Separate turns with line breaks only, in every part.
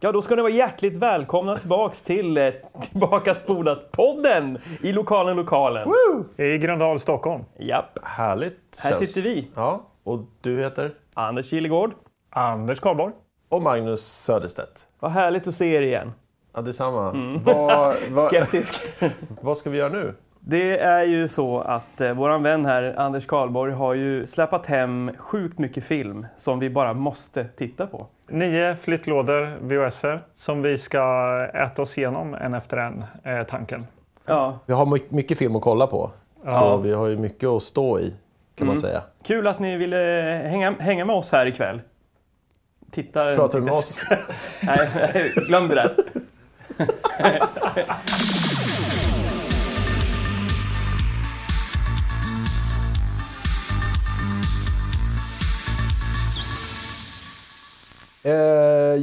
Ja, då ska ni vara hjärtligt välkomna tillbaks till eh, Tillbaka spolat-podden i lokalen lokalen.
I Gröndal, Stockholm.
Japp,
Härligt.
här
känns-
sitter vi.
Ja, och du heter?
Anders Kilegård.
Anders Karlborg.
Och Magnus Söderstedt.
Vad härligt att se er igen.
Ja, detsamma.
Mm.
Vad, vad,
Skeptisk.
vad ska vi göra nu?
Det är ju så att eh, våran vän här, Anders Karlborg, har ju släpat hem sjukt mycket film som vi bara måste titta på.
Nio flyttlådor VHSer som vi ska äta oss igenom en efter en, är tanken.
Ja,
Vi har my- mycket film att kolla på. Så vi har ju mycket att stå i, kan
Mm.
man säga.
kul att ni ville hänga, hänga med oss här ikväll. Titta,
Pratar du med oss?
Nej, nej, glöm det där.
Eh,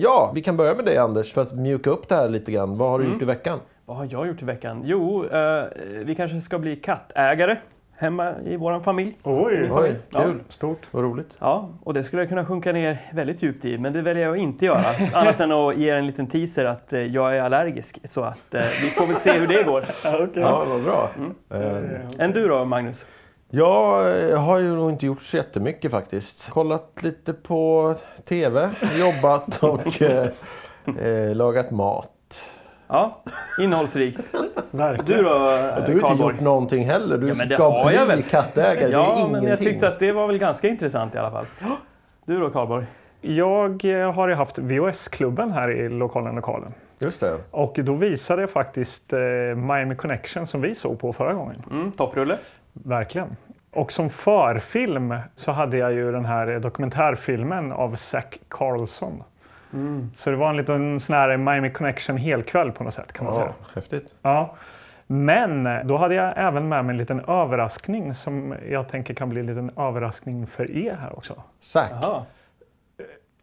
ja, vi kan börja med dig Anders, för att mjuka upp det här lite grann. Vad har du
Mm.
gjort i veckan?
Vad har jag gjort i veckan? Jo, eh, vi kanske ska bli kattägare hemma i vår familj.
Oj,
Oj,
Ja.
kul.
stort.
Vad roligt.
Ja, och det skulle jag kunna sjunka ner väldigt djupt i, men det väljer jag att inte göra. Annat än att ge en liten teaser att eh, jag är allergisk, så att eh, vi får väl se hur det går.
Ja, vad bra.
Mm.
Eh,
Än du då, Magnus?
Jag eh, har ju nog inte gjort så jättemycket faktiskt. Kollat lite på TV, jobbat och eh, eh, lagat mat.
Ja, innehållsrikt.
Verkligen.
Du då,
Du har inte
Karlborg?
gjort någonting heller. Du
Ja, men det
ska
har jag
bli
väl.
kattägare. det är
Ja,
ingenting.
men jag tyckte att det var väl ganska intressant i alla fall. Du då, Karlborg?
Jag eh, har ju haft VHS-klubben här i lokalen, lokalen.
Just det.
Och då visade jag faktiskt eh, Miami Connection som vi såg på förra gången.
Mm, topprulle?
Verkligen. Och som förfilm så hade jag ju den här eh, dokumentärfilmen av Zac Carlson. Så det var en liten sån här Miami Connection helkväll på något sätt kan man säga.
Ja, häftigt.
Ja. Men då hade jag även med mig en liten överraskning som jag tänker kan bli en liten överraskning för er här också.
Zack.
Jaha.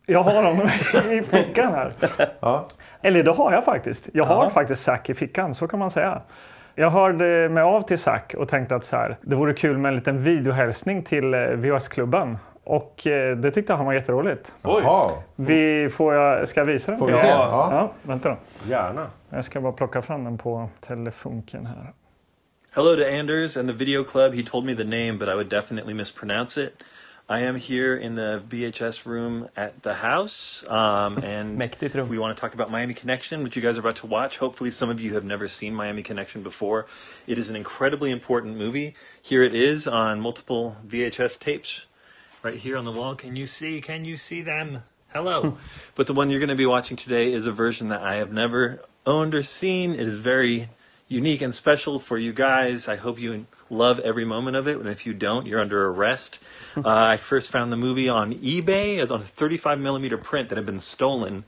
Jag har dem i fickan här.
Ja.
Eller det har jag faktiskt. Jag har
Ja.
faktiskt Zack i fickan, så kan man säga. Jag hörde mig av till Zack och tänkte att så här, det vore kul med en liten videohälsning till eh, VHS-klubben. Och eh, det tyckte han var jätteroligt.
Jaha,
Vi får jag, ska jag visa den?
får vi
ja.
se. Ja.
ja, vänta då.
Gärna.
Jag ska bara plocka fram den på telefunken här.
Hello to Anders and the video club. He told me the name, but I would definitely mispronounce it. I am here in the VHS room at the house, um, and
Mäktigt rum.
we want to talk about Miami Connection, which you guys are about to watch. Hopefully, some of you have never seen Miami Connection before. It is an incredibly important movie. Here it is on multiple VHS tapes, right here on the wall. Can you see? Can you see them? Hello. but the one you're going to be watching today is a version that I have never owned or seen. It is very unique and special for you guys. I hope you love every moment of it. And if you don't, you're under arrest. uh, I first found the movie on eBay as on a 35 millimeter print that had been stolen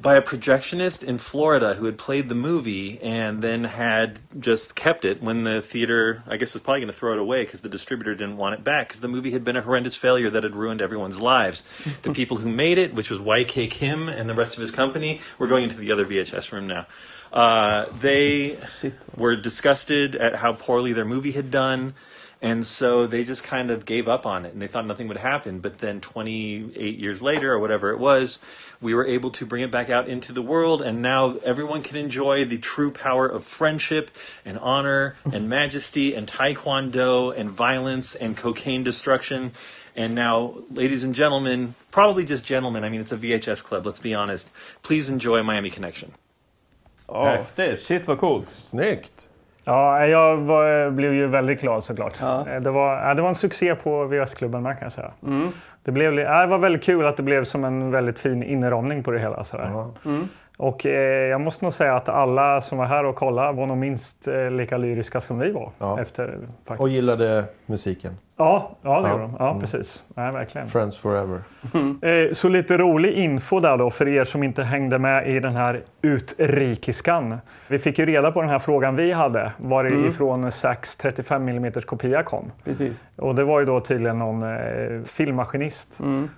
by a projectionist in Florida who had played the movie and then had just kept it when the theater, I guess, was probably going to throw it away because the distributor didn't want it back because the movie had been a horrendous failure that had ruined everyone's lives. the people who made it, which was YK Kim and the rest of his company, we're going into the other VHS room now. Uh, they
Shit.
were disgusted at how poorly their movie had done. And so they just kind of gave up on it and they thought nothing would happen. But then 28 years later, or whatever it was, we were able to bring it back out into the world. And now everyone can enjoy the true power of friendship and honor and majesty and taekwondo and violence and cocaine destruction. And now, ladies and gentlemen, probably just gentlemen, I mean, it's a VHS club, let's be honest. Please enjoy Miami Connection.
Häftigt.
Shit vad coolt.
Snyggt.
Ja, jag var, blev ju väldigt glad såklart.
Ja.
Eh, Det, var, ja, det var en succé på VHS-klubben med, kan jag säga. Det, blev, li- ja, det var väldigt kul att det blev som en väldigt fin inramning på det hela. Sådär. Och eh, jag måste nog säga att alla som var här och kollade var nog minst eh, lika lyriska som vi var.
Ja.
Efter, fakt-
Och Mm. gillade musiken.
ja, ja, det
Ja.
gjorde de. Ja, precis. Ja, verkligen.
Friends forever.
Eh, Så lite rolig info där då för er som inte hängde med i den här utrikiskan. Vi fick ju reda på den här frågan vi hade, varifrån Sacks 35 mm kopia kom.
Precis.
Och det var ju då tydligen någon eh, filmmaskinist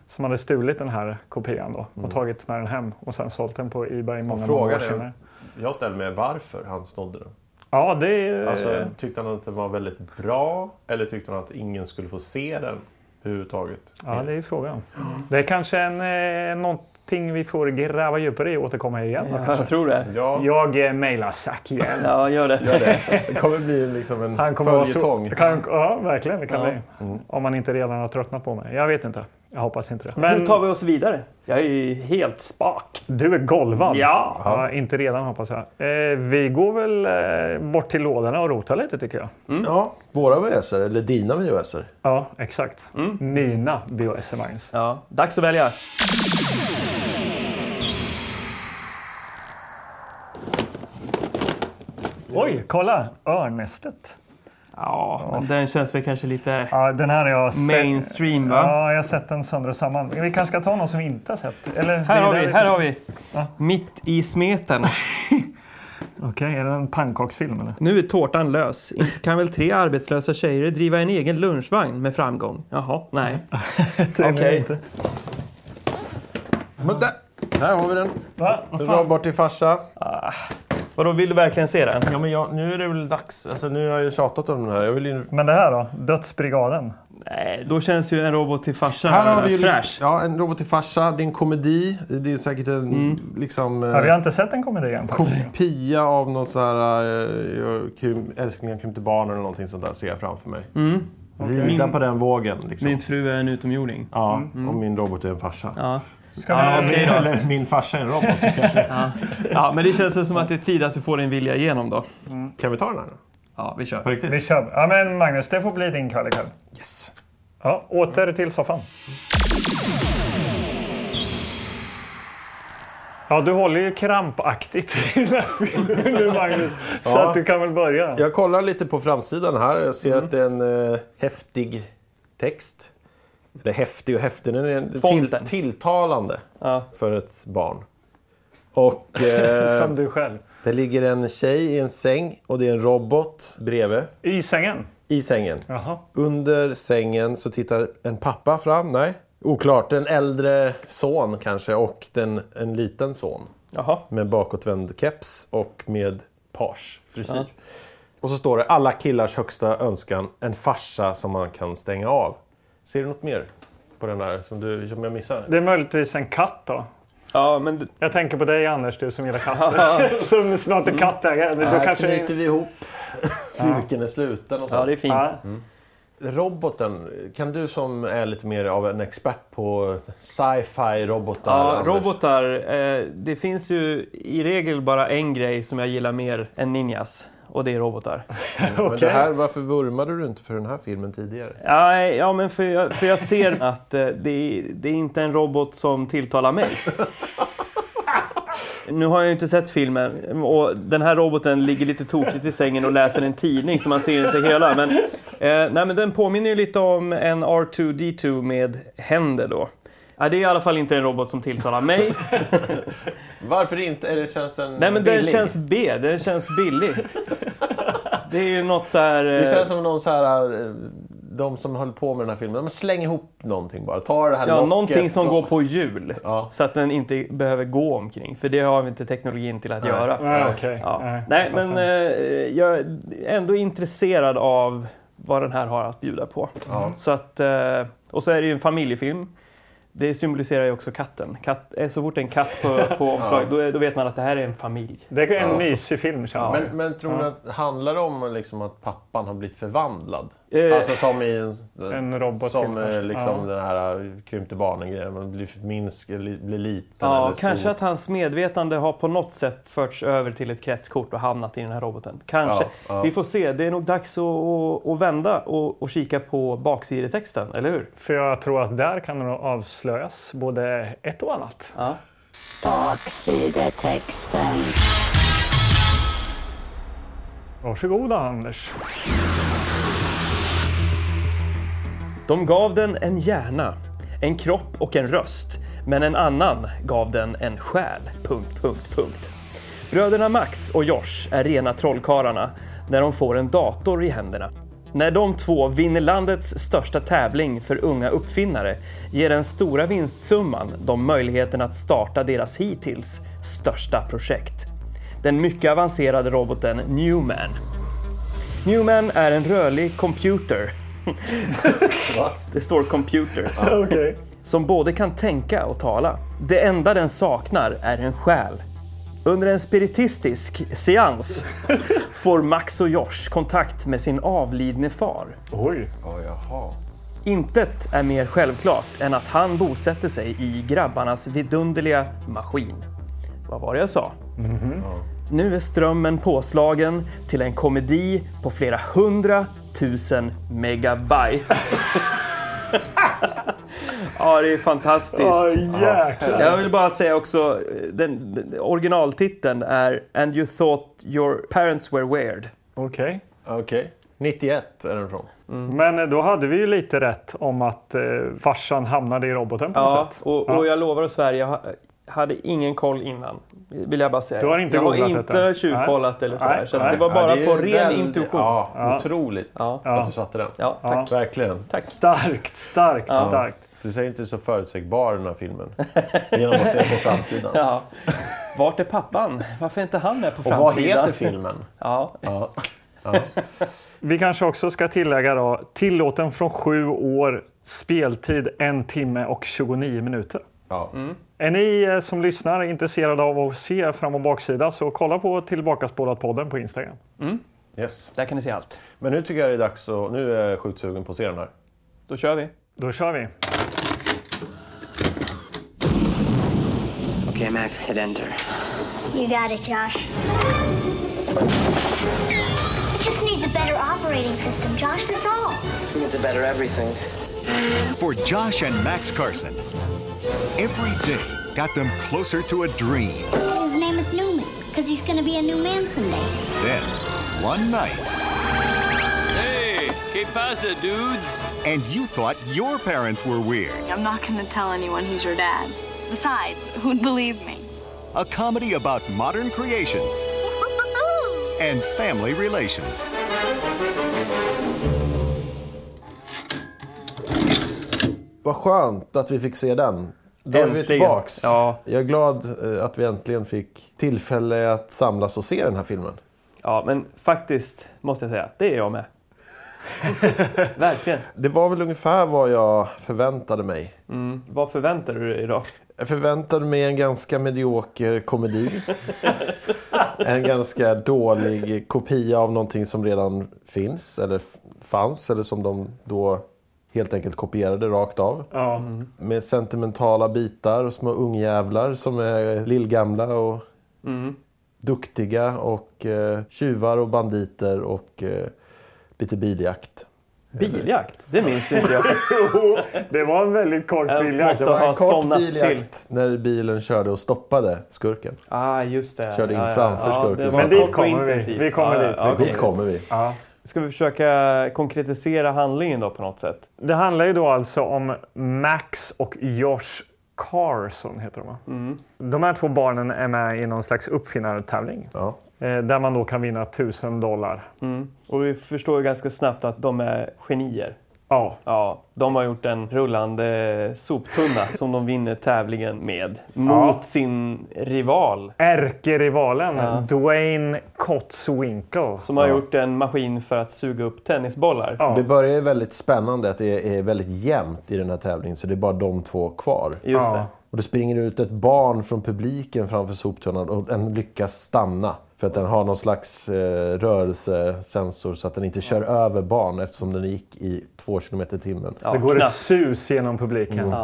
som hade stulit den här kopian då och tagit med den hem och sen sålt den på Ebay många, många år
frågade-
senare.
Jag ställer mig varför han snodde den. Alltså,
Ja, det
Eh.
är...
Alltså,
tyckte han att den var väldigt bra eller tyckte han att ingen skulle få se den överhuvudtaget?
Ja, det är ju frågan. Det är kanske en, eh, något någonting vi får gräva djupare i och återkomma igen.
Jag tror det.
Ja,
Jag eh, mailar Zack igen.
Ja, gör det.
gör det. Det kommer bli liksom en
Han kommer vara så...
följetong.
Kan, ja, verkligen. Det kan
Ja.
bli. Om man inte redan har tröttnat på mig. Jag vet inte. Jag hoppas inte det.
Men... Hur
Men
tar vi oss vidare? Jag är ju helt spak.
du är golvad.
Ja!
Ja, inte redan hoppas jag. Eh, vi går väl eh, bort till lådorna och rotar lite tycker jag.
Mm.
Ja, våra VHSer, eller dina VHSer.
Ja, exakt.
Mm.
Mina VHS Magnus.
Ja, dags att välja.
Oj, kolla! Örnästet.
Ja, men den känns väl kanske lite
Ja, den här har jag sett.
mainstream va?
Ja, jag har sett den sönder och samman. Vi kanske ska ta någon som vi inte har sett? Eller,
Här har vi,
vidare-
här har vi. Mitt i smeten.
Okej, är det en pannkaksfilm eller?
Nu är tårtan lös. Inte kan väl tre arbetslösa tjejer driva en egen lunchvagn med framgång? Jaha, nej.
Tydligen
Okej.
inte.
Men där, här har vi den.
Va? Vad
Dra
fan?
bort till farsa.
Vadå, vill du verkligen se den?
Ja, men jag, nu är det väl dags. Alltså, nu har jag ju tjatat om den här. Jag vill ju...
Men det här då? Dödsbrigaden?
Nej, då känns ju en robot till farsan
Här har vi ju
fräsch.
liksom, ja, en robot till farsa. Det är en komedi. Det är säkert en
Mm.
liksom, eh,
Ja, vi har inte sett en komedi än.
kopia av någon sån här eh, jag- krym, Älsklingar krympte barn eller någonting sånt där ser jag framför mig. Rida på den vågen liksom.
Mm. Min fru är en utomjording.
Ja, och min robot är en farsa.
Ja.
Ska
Ja,
vi...
okej då.
Eller min farsa är en robot kanske.
ja, men det känns väl som att det är tid att du får din vilja igenom då.
Kan vi ta den här nu?
Ja, vi
På
kör.
riktigt?
vi kör. Ja, men Magnus, det får bli din kväll ikväll.
Yes.
Ja, åter till soffan. Ja, du håller ju krampaktigt i den här filmen nu, Magnus. Så
Ja. eh.
att du kan väl börja.
Jag kollar lite på framsidan här. Jag ser att det är en eh, häftig text. Eller häftig och häftig. Den är
Fonten.
till, tilltalande
Ja.
för ett barn. Och eh,
Som du själv.
det ligger en tjej i en säng och det är en robot bredvid.
I sängen.
I sängen.
Jaha.
Under sängen så tittar en pappa fram. Nej, oklart. En äldre son kanske och den, en liten son.
Jaha.
Med bakåtvänd keps och med page frisyr. Och så står det alla killars högsta önskan, en farsa som man kan stänga av. Ser du något mer på den här som, du, som jag missar?
Det är möjligtvis en katt då.
Ja, men
Jag tänker på dig Anders, du som gillar katter. som snart är kattägare. Men Då kanske...
vi ihop. Cirkeln är sluten. Och
ja,
sånt.
det är fint.
Ja.
Roboten, kan du som är lite mer av en expert på sci-fi robotar?
Ja,
Anders?
robotar. Eh, det finns ju i regel bara en grej som jag gillar mer än ninjas. Och det är robotar.
Men det här, varför vurmade du inte för den här filmen tidigare?
Nej, ja, men för jag, för jag ser att eh, det, är, det är inte en robot som tilltalar mig. Nu har jag ju inte sett filmen och den här roboten ligger lite tokigt i sängen och läser en tidning så man ser inte hela. Men, eh, nej, men den påminner ju lite om en R2D2 med händer då. Ja, det är i alla fall inte en robot som tilltalar mig.
Varför inte? Eller känns den
Nej men den
billig?
känns B, den känns billig. Det är ju något så här... eh,
Det känns som någon så här, eh, de som höll på med den här filmen. De släng ihop någonting bara. Ta det här
eh, Ja,
locket
någonting som
och-
går på hjul.
Ja.
Så att den inte behöver gå omkring. För det har vi inte teknologin till att göra.
Nej, okej.
Ja.
Nej.
Nej, men eh, jag är ändå intresserad av vad den här har att bjuda på.
Ja.
Så att, eh, och så är det ju en familjefilm. Det symboliserar ju också katten. Katt, eh, så fort det är en katt på, på omslaget då, är- då vet man att det här är en familj.
Det är en mysig film känner jag.
Men, men tror ni att handlar det om liksom att pappan har blivit förvandlad?
Eh.
Alltså som i en,
En robot
Alltså, Som
kanske.
eh, liksom
Ja.
den här eh, krympte barnen-grejen. Man blir minsk, eller blir liten.
Ja,
eller stor.
kanske att hans medvetande har på något sätt förts över till ett kretskort och hamnat i den här roboten. Kanske.
Ja, ja.
Vi får se. Det är nog dags att, att, att vända och, och kika på baksidetexten, eller hur?
För jag tror att där kan det nog avslöjas både ett och annat.
Ja.
Baksidetexten.
Varsågoda Anders.
De gav den en hjärna, en kropp och en röst. Men en annan gav den en själ. Punkt, punkt, punkt. Bröderna Max och Josh är rena trollkarlarna när de får en dator i händerna. När de två vinner landets största tävling för unga uppfinnare ger den stora vinstsumman dem möjligheten att starta deras hittills största projekt. Den mycket avancerade roboten Newman. Newman är en rörlig computer. Det står computer.
Okej.
som både kan tänka och tala. Det enda den saknar är en själ. Under en spiritistisk seans får Max och Josh kontakt med sin avlidne far.
Oj.
Ja, jaha.
Intet är mer självklart än att han bosätter sig i grabbarnas vidunderliga maskin. Vad var det jag sa? Nu är strömmen påslagen till en komedi på flera hundratusen megabyte. ja, det är fantastiskt.
Ja, jäklar.
Jag vill bara säga också, eh, den, den, originaltiteln är And you thought your parents were weird.
Okej.
Okej. 91 är den från.
Men eh, då hade vi ju lite rätt om att eh, farsan hamnade i roboten på något
Ja,
sätt.
och, och jag lovar att Sverige jag ha- hade ingen koll innan. Vill jag bara säga.
Du har inte
jag har
googlat
inte
detta?
tjuvkollat eller sådär.
Nej,
Så att
nej.
det var bara
Ja, det är
på ren
ju väldigt-
intuition. Ja,
Ja, otroligt
Ja.
att du satte den.
tack.
Verkligen.
Starkt, starkt, starkt.
Du säger inte så förutsägbar den här filmen. Genom att se på framsidan.
Ja. Vart är pappan? Varför är inte han med på
Och vad
framsidan?
heter filmen?
Ja,
Ja.
Vi kanske också ska tillägga då, tillåten från sju år, speltid en timme och 29 minuter.
Ja.
Mm.
Är ni eh, som lyssnar intresserade av att se fram och baksida så kolla på Tillbakaspålat-podden på Instagram.
Yes.
där kan ni se allt.
Men nu tycker jag det är dags att... Nu är jag sjukt sugen på att se den här.
Då kör vi.
Då kör vi.
Okay, Max, hit enter.
You got it, Josh. It just needs a better operating system, Josh, that's all.
It's a better everything.
For Josh and Max Carson, every day got them closer to a dream.
His name is Newman, because he's going to be a new man someday.
Then, one night,
Hey, que pasa, dudes?
and you thought your parents were weird.
I'm not going to tell anyone he's your dad. Besides, who'd believe me?
A comedy about modern creations and family relations.
Vad skönt att vi fick se den. Då är vi
Äntligen.
tillbaks.
Ja.
Jag är glad eh, att vi äntligen fick tillfälle att samlas och se den här filmen.
Ja, men faktiskt måste jag säga, det är jag med. Verkligen.
Det var väl ungefär vad jag förväntade mig.
Vad förväntar du dig idag?
Jag förväntade mig en ganska medioker komedi. en ganska dålig kopia av någonting som redan finns eller f- fanns eller som de då helt enkelt kopierade rakt av.
Ja.
Med sentimentala bitar och små ungjävlar som är lillgamla och
Mm.
duktiga och eh, tjuvar och banditer och eh, lite biljakt.
Biljakt? Det minns inte jag.
Det var en väldigt kort
Jag
biljakt.
måste
Det var en
ha
kort...
somnat till.
Biljakt när bilen körde och stoppade skurken.
Ah, just det.
Körde in framför skurken.
det var
Men
dit
kort och
kommer vi.
intensivt.
Vi kommer dit.
okej.
Dit kommer vi.
Ska vi försöka konkretisera handlingen då på något sätt?
Det handlar ju då alltså om Max och Josh Carson, heter de va? De här två barnen är med i någon slags uppfinnartävling.
Ja.
Eh, där man då kan vinna 1000 dollar.
Och vi förstår ju ganska snabbt att de är genier.
Ja,
Ja, de har gjort en rullande soptunna som de vinner tävlingen med mot sin rival
ärkerivalen
Ja.
Dwayne Kotzwinkle.
som har gjort en maskin för att suga upp tennisbollar.
Ja.
Det börjar ju väldigt spännande att det är väldigt jämnt i den här tävlingen så det är bara de två kvar.
Just
Ja.
det.
Och det springer ut ett barn från publiken framför soptunnan och den lyckas stanna. För att den har någon slags eh, rörelsesensor så att den inte kör över barn eftersom den gick i två kilometer i timmen.
Ja,
Det går ett
knappt. Mm.
sus genom publiken.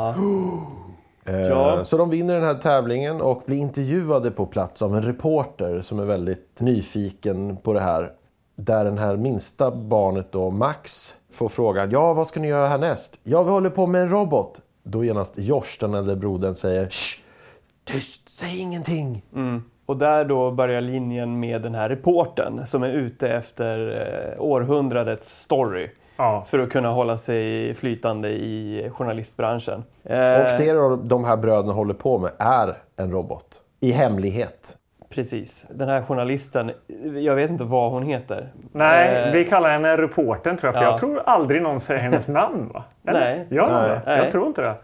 Eh,
Ja.
Så de vinner den här tävlingen och blir intervjuade på plats av en reporter som är väldigt nyfiken på det här. Där den här minsta barnet då, Max, får frågan Ja, vad ska ni göra härnäst? Ja, vi håller på med en robot. Då genast Josh, den äldre brodern, säger Shh! Tyst, säg ingenting!
Och där då börjar linjen med den här reporten som är ute efter eh, århundradets story.
Ja.
För att kunna hålla sig flytande i journalistbranschen.
Och det de- de här bröderna håller på med är en robot. I hemlighet.
Precis. Den här journalisten, jag vet inte vad hon heter.
Nej,
Eh,
vi kallar henne reportern tror jag. För
ja.
jag tror aldrig någon säger hennes namn va?
Nej.
Gör de
Nej.
det? Jag
Nej.
tror inte det.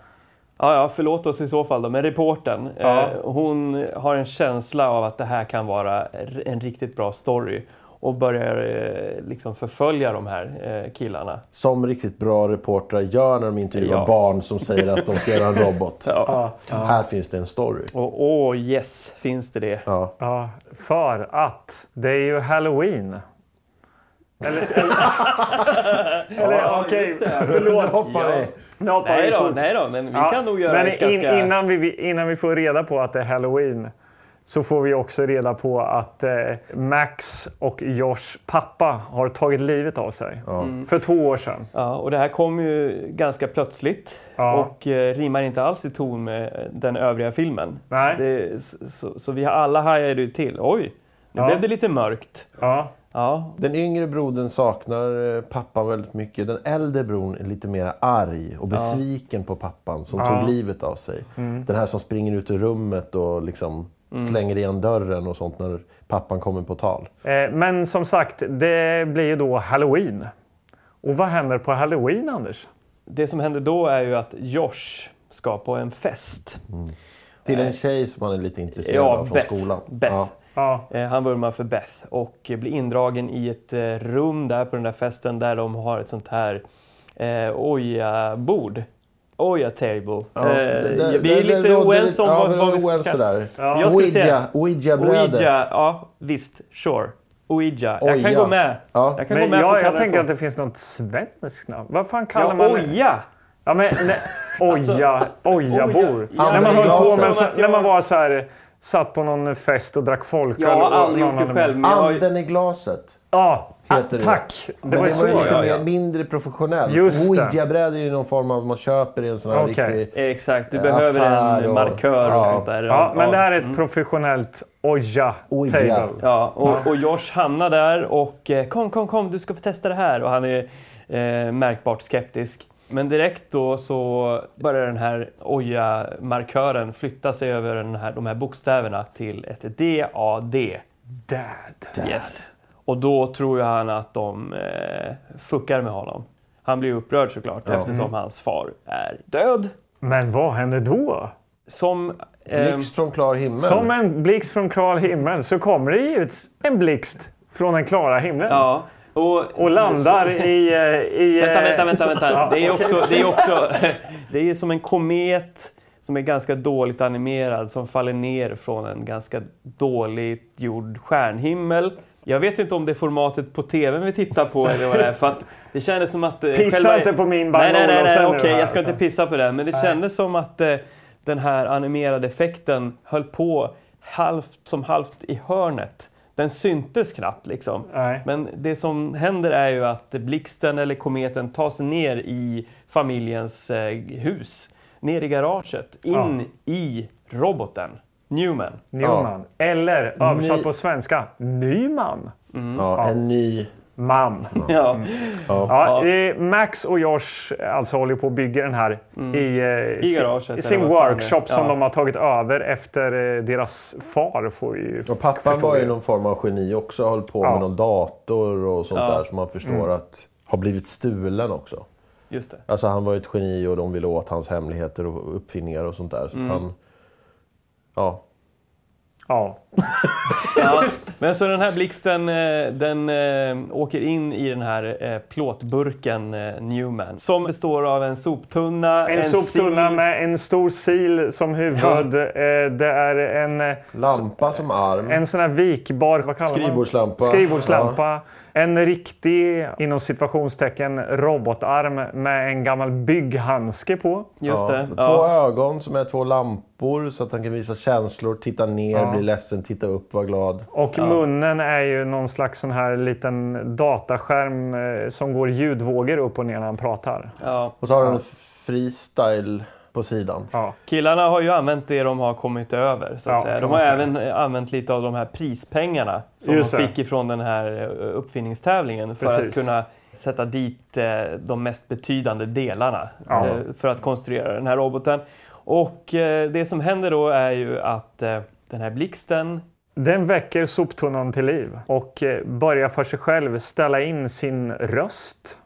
Ja, ja, förlåt oss i så fall då, men reportern,
Ja.
eh, hon har en känsla av att det här kan vara r- en riktigt bra story. och börjar eh, liksom förfölja de här eh, killarna.
Som riktigt bra reportrar gör när de intervjuar
Ja.
barn som säger att de ska göra en robot.
Ja.
Här finns det en story.
Och åh yes, finns det det?
Ja.
Ja, för att det är ju halloween. Eller, eller, eller okej,
just det.
förlåt.
Hoppar i.
Nu hoppar
Nej
vi
då,
fort.
nej då, men vi
Ja,
kan nog göra
men
ett
in,
ganska...
innan, vi, innan vi får reda på att det är halloween så får vi också reda på att eh, Max och Joshs pappa har tagit livet av sig.
Mm.
För två år sedan.
Ja, och det här kom ju ganska plötsligt
Ja.
och eh, rimmar inte alls i ton med den övriga filmen.
Nej.
Det, s- så, så vi har alla hajade ju till. Oj, nu
Ja.
blev det lite mörkt.
Ja.
Ja,
Den yngre brodern saknar eh, pappan väldigt mycket. Den äldre brodern är lite mer arg och besviken på pappan som tog livet av sig.
Mm.
Den här som springer ut ur rummet och liksom slänger igen dörren och sånt när pappan kommer på tal.
Eh, men som sagt, det blir ju då halloween. Och vad händer på halloween, Anders?
det som händer då är ju att Josh ska på en fest.
Till en tjej som han är lite intresserad av Mm, från
Beth.
skolan.
Beth.
Ja.
Ja.
Eh, Han vurmar för Beth och blir indragen i ett eh, rum där på den där festen där de har ett sånt här eh, oja-bord. Oja-table.
Ja, det- det-
Eh, vi är
det- det
lite
rådde
oense om
ja,
vad,
vi
vad
är
vi ska
oense där.
Jag skulle säga-
Ouija, Ouija-brädet.
Ouija, ja visst, sure. Ouija. Jag kan
Oja.
gå med.
Ja.
Jag kan gå
Men
med på
jag,
att
jag
kalla
tänker
för-
att det finns något svenskt namn. Vad fan kallar
Ja,
man
oja!
Ja, men, nej, oja, ojabor.
Ja,
när, man
men
höll på
glasen.
med, så,
Jag-
när man var så här, satt på någon fest och drack folköl.
Jag har
och
aldrig
någon
gjort det
hade-
själv. Men jag har ju...
Anden i glaset.
Ja, ah,
Heter det.
tack. Det
Men
var ju så.
ju lite
ja,
ja.
ja.
mer, mindre professionellt.
Just det.
Ouija-bräde är ju någon form av, man köper i en sån här
Okej.
riktig...
Exakt, du
Ja,
behöver
affär
en
och-
markör och
ja.
sånt där.
Ja, men det här är
Mm.
ett professionellt oja
Oja.
table.
Ja, och, och Josh hamnar där och eh, kom, kom, kom, du ska få testa det här. Och han är eh, märkbart skeptisk. Men direkt då så börjar den här oja-markören flytta sig över den här, de här bokstäverna till ett D-A-D.
Dad.
Yes. Och då tror ju han att de eh, fuckar med honom. Han blir upprörd såklart eftersom hans far är död.
Men vad händer då?
Som... ehm,
Blixt från klar himmel.
Som en blixt från klar himmel så kommer det givetvis en blixt från den klara himlen.
ja, och,
Och landar i... eh, i eh,
Vänta, vänta, vänta. vänta.
Ja,
Det, är också, det, är också, det är som en komet som är ganska dåligt animerad som faller ner från en ganska dåligt gjord stjärnhimmel. Jag vet inte om det är formatet på tvn vi tittar på eller vad det är. För att det kändes som att... eh,
Pissa inte på min
Nej, nej, nej, nej
Bang
okej,
Olufsen
jag ska
nu
inte
här.
pissa på den. Men det kändes som att eh, den här animerade effekten höll på halvt som halvt i hörnet. Den syntes knappt liksom.
Nej.
Men det som händer är ju att blixten eller kometen tar sig ner i familjens eh, hus. Ner i garaget, in i roboten. Newman.
Newman. Eller översatt
Ny-
på svenska, Nyman.
Ja, en ny...
Man.
Ja.
Ja, eh, Max och Josh eh, alltså håller på att bygga den här i, eh, sin-
Mm. garaget,
i
eller vad fan
sin
det är.
workshop som
Ja.
de har tagit över efter eh, deras far. Får vi ju
Och pappan
förstå
var ju
det.
någon form av geni också. Höll på
Ja.
med någon dator och sånt där som man förstår att har blivit stulen också.
Just det.
Alltså han var ju ett geni och de ville åt hans hemligheter och uppfinningar och sånt där. Så att han... Ja.
Ja.
Ja. Men så den här blixten eh, den eh, åker in i den här eh, plåtburken eh, Newman som består av en soptunna,
En, soptunna med en stor sil som huvud. Eh, det är en, eh,
Lampa som arm.
en sån här vikbar... Vad kallar man det?
Skrivbordslampa.
Skrivbordslampa. En riktig, inom situationstecken, robotarm med en gammal bygghandske på.
Just
Ja.
det.
Två
Ja.
ögon som är två lampor så att han kan visa känslor, titta ner, bli ledsen, titta upp, vara glad.
Och munnen är ju någon slags sån här liten dataskärm eh, som går ljudvågor upp och ner när han pratar.
Ja.
Och så har han en freestyle på sidan.
Ja.
Killarna har ju använt det de har kommit över. Så att
Ja,
säga.
kan
De har
man säga.
även eh, använt lite av de här prispengarna som
Just
de
det.
fick ifrån den här eh, uppfinningstävlingen för att
Precis.
kunna sätta dit eh, de mest betydande delarna
Ja.
eh, för att konstruera den här roboten. Och eh, det som händer då är ju att eh, den här blixten
Den väcker soptunnan till liv och eh, börjar för sig själv ställa in sin röst.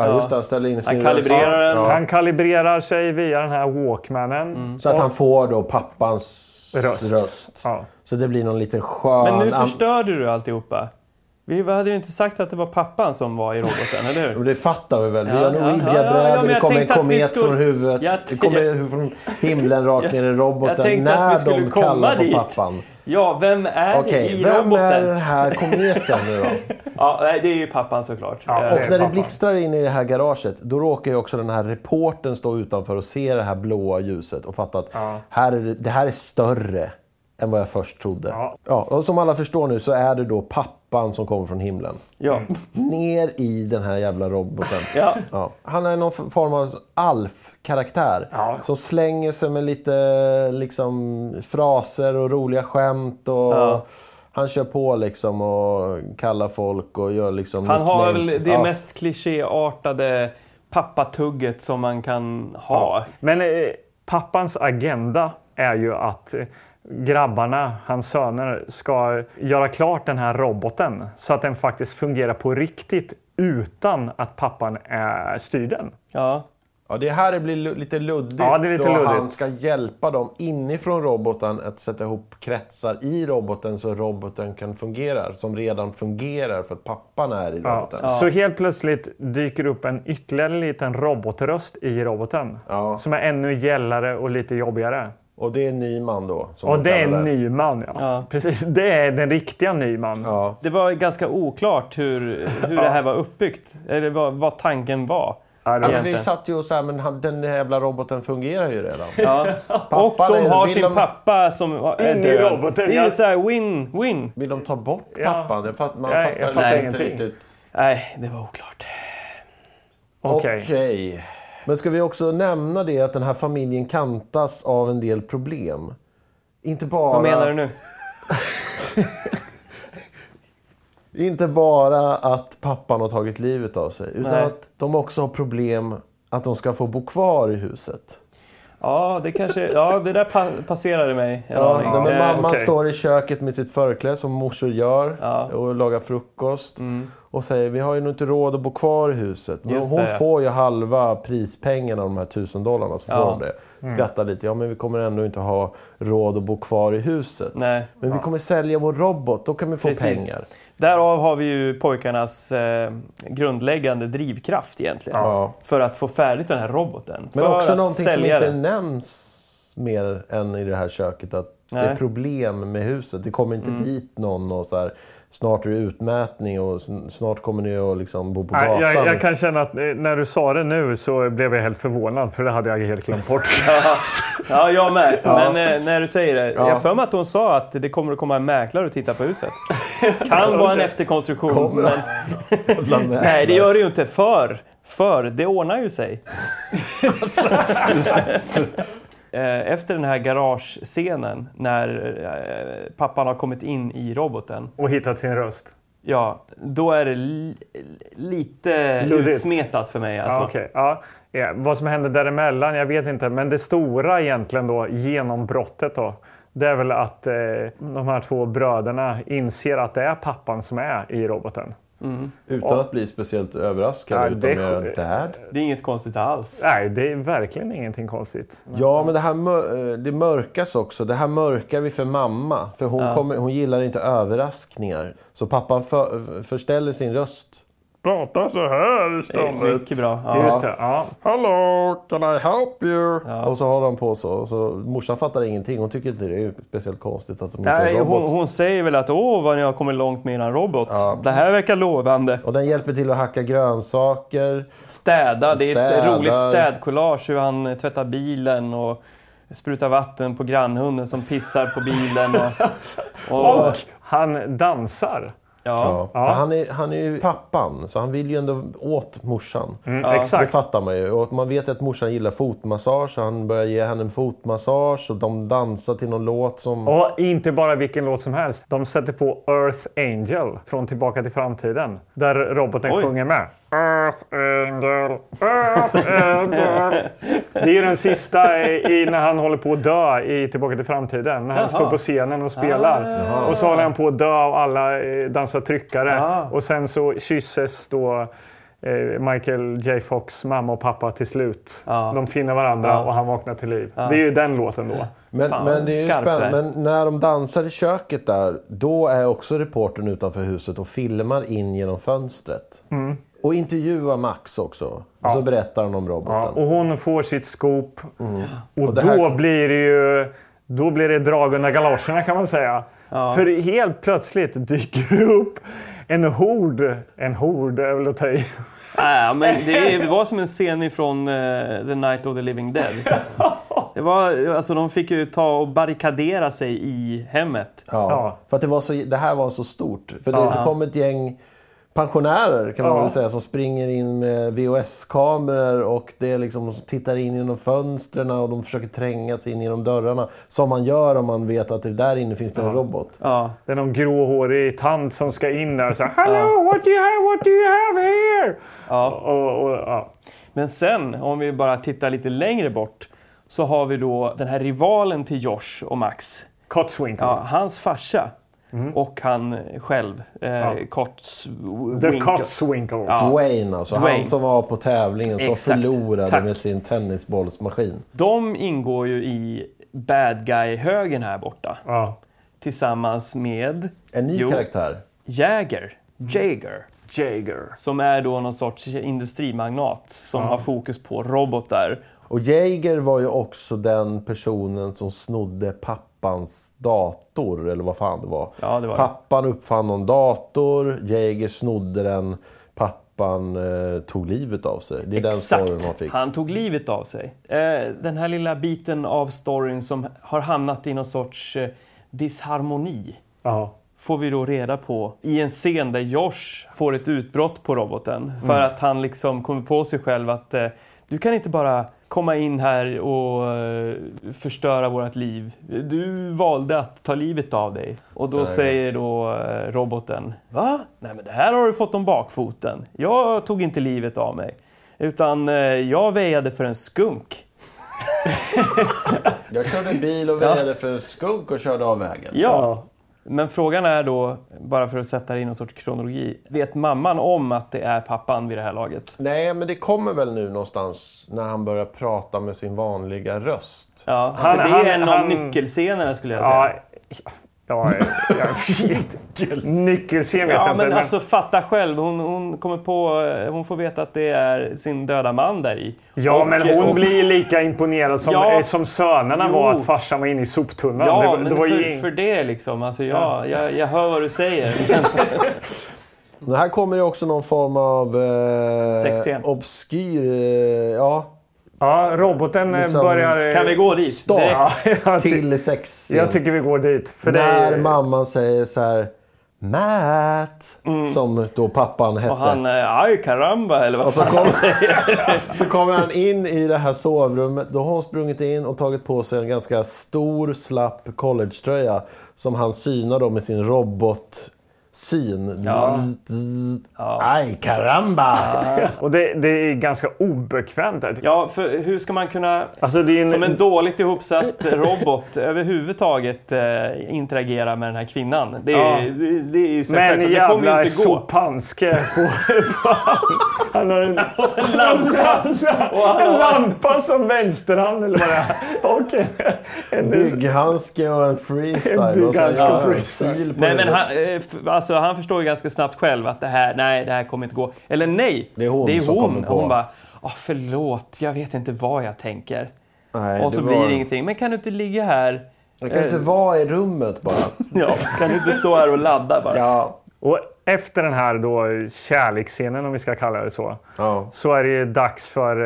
Ja, just det. Han ställer in sin röst.
kalibrerar den.
Ja.
Han kalibrerar sig via den här Walkmanen.
Så att han får då pappans
Röst.
röst.
Ja.
Så det blir någon liten skön...
Men nu
am-
förstörde du alltihopa. Vi hade ju inte sagt att det var pappan som var i roboten, eller
Och
hur?
det fattar vi väl? Vi
Ja,
har
ja,
Norwegian-brädor,
ja, ja, men
det
jag
kommer en
tänkte att vi
komet
skulle-
från huvudet.
Jag-
det kommer från himlen rakt ner i roboten.
Jag tänkte
när
att vi skulle
de
komma
kallar på
dit.
pappan.
Ja, vem är
Okej,
det i
vem
roboten?
är den här kometen nu då?
Ja, nej, det är ju pappan såklart.
Ja,
Eh,
Och när det
pappan.
blixtrar in i det här garaget, då råkar ju också den här reportern stå utanför och se det här blåa ljuset och fatta att här är det, det här är större än vad jag först trodde.
Ja.
och som alla förstår nu så är det då pappan som kommer från himlen.
ja.
Ner i den här jävla roboten.
Ja.
Han är någon form av Alf-karaktär.
Ja.
Som slänger sig med lite liksom, fraser och roliga skämt. Och Han kör på liksom och kallar folk och gör liksom
Han har
nicknames.
väl det
Ja.
mest klichéartade pappatugget som man kan ha.
Men eh, pappans agenda är ju att eh, grabbarna, hans söner, ska göra klart den här roboten så att den faktiskt fungerar på riktigt utan att pappan är styr den.
Ja.
Ja, det här det blir lu- lite luddigt.
Ja, det är lite
och han
luddigt.
ska hjälpa dem inifrån roboten att sätta ihop kretsar i roboten så roboten kan fungera. Som redan fungerar för att pappan är i
Ja.
roboten.
Så helt plötsligt dyker upp en ytterligare liten robotröst i roboten
Ja.
som är ännu gällare och lite jobbigare.
Och det är Nyman då. Som
Och
de
det är
kallar
Nyman, ja. Precis, det är den riktiga Nyman.
Ja.
Det var ganska oklart hur, hur det här var uppbyggt, eller vad, vad tanken var.
Ja, det-
Ja, men vi
egentligen.
satt ju och så här, men han, den jävla roboten fungerar ju redan. Pappan
Och de
är-
har
vill
sin
de-
pappa som är
In i
död.
roboten,
det är ju
ja.
så här win-win.
Vill de ta bort
Ja.
pappan? Jag fatt, man
Nej, jag
fattar,
fattar
inte
ingenting.
riktigt.
Nej, det var oklart.
Okej.
Okej. Men ska vi också nämna det att den här familjen kantas av en del problem? Inte bara...
Vad menar du nu?
Inte bara att pappan har tagit livet av sig, utan
Nej.
att de också har problem att de ska få bo kvar i huset.
Ja, det kanske... Ja, det där pa passerade mig. en
Ja,
aning.
men
Eh,
mamman
okej.
står i köket med sitt förkläde som morsor gör och lagar frukost. Och säger vi har ju nog inte råd att bo kvar i huset. Men
Mm. Just
hon
det.
får ju halva prispengarna, de här tusen dollarna. Så får
Ja.
hon det. Skrattar lite. Ja men vi kommer ändå inte ha råd att bo kvar i huset.
Nej.
Men vi kommer sälja vår robot, då kan vi få
Precis.
pengar.
Därav har vi ju pojkarnas eh, grundläggande drivkraft egentligen.
Ja.
För att få färdigt den här roboten.
Men
för
också
att
någonting som
sälja
inte
den.
nämns mer än i det här köket. Att det är
Nej.
problem med huset. Det kommer inte dit någon och så här, snart är det utmätning och sn- snart kommer ni att liksom bo på
Nej,
gatan.
Jag, jag kan känna att eh, när du sa det nu så blev jag helt förvånad för det hade jag helt glömt bort.
Ja, jag med. Men eh, när du säger det. Jag
Ja.
har för mig att hon sa att det kommer att komma en mäklare och titta på huset. kan vara en efterkonstruktion. men...
Bland med-
Nej, det gör det ju inte. För, för det ordnar ju sig. Eh, Efter den här garagescenen när eh, pappan har kommit in i roboten.
Och hittat sin röst.
Ja, då är det li- lite
Luddigt.
utsmetat för mig. Alltså.
Ja, okej. ja. Ja, vad som hände däremellan, jag vet inte. Men det stora egentligen då, genombrottet då. Det är väl att eh, de här två bröderna inser att det är pappan som är i roboten.
Utan att bli speciellt överraskad.
Ja,
utan
det är
mer
sjukt.
dad.
Det är inget konstigt alls.
Nej, det är verkligen ingenting konstigt.
Ja, men det här mör- eh, det mörkas också. Det här mörkar vi för mamma. För hon, kommer, hon gillar inte överraskningar. Så pappan för- förställer sin röst. Prata så här
Mycket bra. Ja.
Just det, ja.
Hello, can I help you? Och så håller de på så. Och så. Morsan fattar ingenting. Hon tycker inte det är speciellt konstigt att de inte är
Nej,
robot.
hon, hon säger väl att åh, vad ni har kommit långt med eran robot. Det här verkar lovande.
Och den hjälper till att hacka grönsaker.
Städa, det är ett
Städar.
roligt städkollage hur han eh, tvättar bilen och sprutar vatten på grannhunden som pissar på bilen. Och, och,
Och han dansar.
ja.
Ja. För han, är, han är ju pappan, så han vill ju ändå åt morsan. Det
Exakt.
fattar man ju. Och man vet att morsan gillar fotmassage, så han börjar ge henne en fotmassage. Och de dansar till någon låt som...
Och inte bara vilken låt som helst. De sätter på Earth Angel från Tillbaka till framtiden. Där roboten
Oj.
sjunger med. Earth Angel, Earth Angel. Det är ju den sista i, i när han håller på att dö i Tillbaka till framtiden. När han står på scenen och spelar. Och så håller han på att dö och alla eh, dansar tryckare. Och sen så kysses då eh, Michael J Fox mamma och pappa till slut. De finner varandra och han vaknar till liv. Det är ju den låten då.
Men,
Fan,
men, det är ju
skarp
spänn-
där.
men när de dansar i köket där, då är också reportern utanför huset och filmar in genom fönstret.
Mm.
Och intervjuar Max också. Och så berättar han om roboten.
Ja, och hon får sitt scoop. Och,
Mm. Och det
då
här kom-
blir det ju... Då blir det drag under galoscherna kan man säga. För helt plötsligt dyker det upp en hord. En hord är väl att ta i.
Nej, men det var som en scen ifrån eh, The Night of the Living Dead. Det var, alltså, de fick ju ta och barrikadera sig i hemmet.
Ja.
Ja.
För att det, var så, det här var så stort. För det,
Ja.
det kom ett gäng pensionärer kan man
Ja.
väl säga som springer in med VHS-kameror och det är liksom, som tittar in genom fönstren och de försöker tränga sig in genom dörrarna. Som man gör om man vet att det där inne finns det en robot.
Ja.
Det är någon gråhårig tant som ska in där och säger Hello, what do you have, what do you have here?
Ja.
Och, och, ja.
Men sen, om vi bara tittar lite längre bort, så har vi då den här rivalen till Josh och Max.
Cotswinkle.
Ja, hans farsa och han själv, eh, Cots...
The
Winkle.
Cotswinkle.
Wayne alltså,
Dwayne.
han som var på tävlingen som
Exakt.
förlorade
Tack.
med sin tennisbollsmaskin.
De ingår ju i bad guy-högen här borta.
Ja.
Tillsammans med
En ny
Jo.
karaktär.
Jäger, Jager,
Jager.
som är då någon sorts industrimagnat som har fokus på robotar.
Och Jaeger var ju också den personen som snodde pappans dator, eller vad fan det var.
Ja, det var det.
pappan uppfann någon dator, Jaeger snodde den, pappan eh, tog livet av sig. Det är den storyn man fick.
han tog livet av sig. Eh, den här lilla biten av storyn som har hamnat i någon sorts eh, disharmoni
Ja.
får vi då reda på i en scen där Josh får ett utbrott på roboten för att han liksom kommer på sig själv att eh, du kan inte bara komma in här och eh, förstöra vårt liv. Du valde att ta livet av dig. Och då säger då eh, roboten Va? Nej men det här har du fått om bakfoten. Jag tog inte livet av mig. Utan eh, jag väjade för en skunk.
Jag körde bil och väjade för en skunk och körde av vägen.
Ja. Men frågan är då, bara för att sätta det i någon sorts kronologi. Vet mamman om att det är pappan vid det här laget?
Nej, men det kommer väl nu någonstans när han börjar prata med sin vanliga röst.
Ja,
Han-
för det är
han-
en
han-
av nyckelscenerna skulle jag säga.
Ja, ja, jag vet. Nyckelscen vet jag
Ja,
inte.
men
men-
alltså fatta själv. Hon, hon, kommer på, eh, hon får veta att det är sin döda man där i.
Ja,
Och-
men hon
och-
blir ju lika imponerad som,
Ja.
eh, som sönerna var
Jo.
att farsan var inne i soptunnan.
Ja,
var-
men
var ju
för,
ing-
för det liksom. Alltså, ja, jag, jag hör vad du säger.
Det här kommer ju också någon form av... Eh,
Sexscen.
Obskyr... Eh, ja,
Ja, roboten eh,
Liksom-
börjar... eh,
Kan vi gå dit?
Start.
direkt?
Ja, jag, ty-
till sex.
jag tycker vi går dit. För det
När
är,
mamman säger så här Matt,
Mm.
som då pappan hette.
Och han, eh, aj karamba eller vad
Och så,
fan
kom, så kommer han in i det här sovrummet. Då har hon sprungit in och tagit på sig en ganska stor, slapp collegetröja. Som han synar då med sin robotsyn. Zzz, zzz. Aj, karamba!
och det, det är ganska obekvämt. Där.
Ja, för hur ska man kunna
Alltså, det är en,
som en dåligt ihopsatt robot överhuvudtaget eh, interagera med den här kvinnan. Det är,
Ja.
det, det är ju så
men
självklart. Det kommer ju
jävla
inte gå.
sopanske på... Han har en, en lampa. en lampa som vänsterhand eller vad det är. Okej. En-
Bygghandske och en freestyle.
En
Och så
bygghandske
gör
och
han en
freestyle.
sil på
Nej,
det.
men han, eh, f- alltså, han förstår ju ganska snabbt själv att det här, nej, det här kommer inte gå. Eller nej,
Det är hon som kommer på.
Och hon bara, ah förlåt, jag vet inte vad jag tänker.
Nej,
och så
var-
blir det Eh. ingenting. Men kan du inte ligga här?
Jag kan inte vara i rummet bara.
Ja, kan du inte stå här och ladda bara?
Ja.
Och efter den här då kärleksscenen, om vi ska kalla det så,
Ja.
så är det ju dags för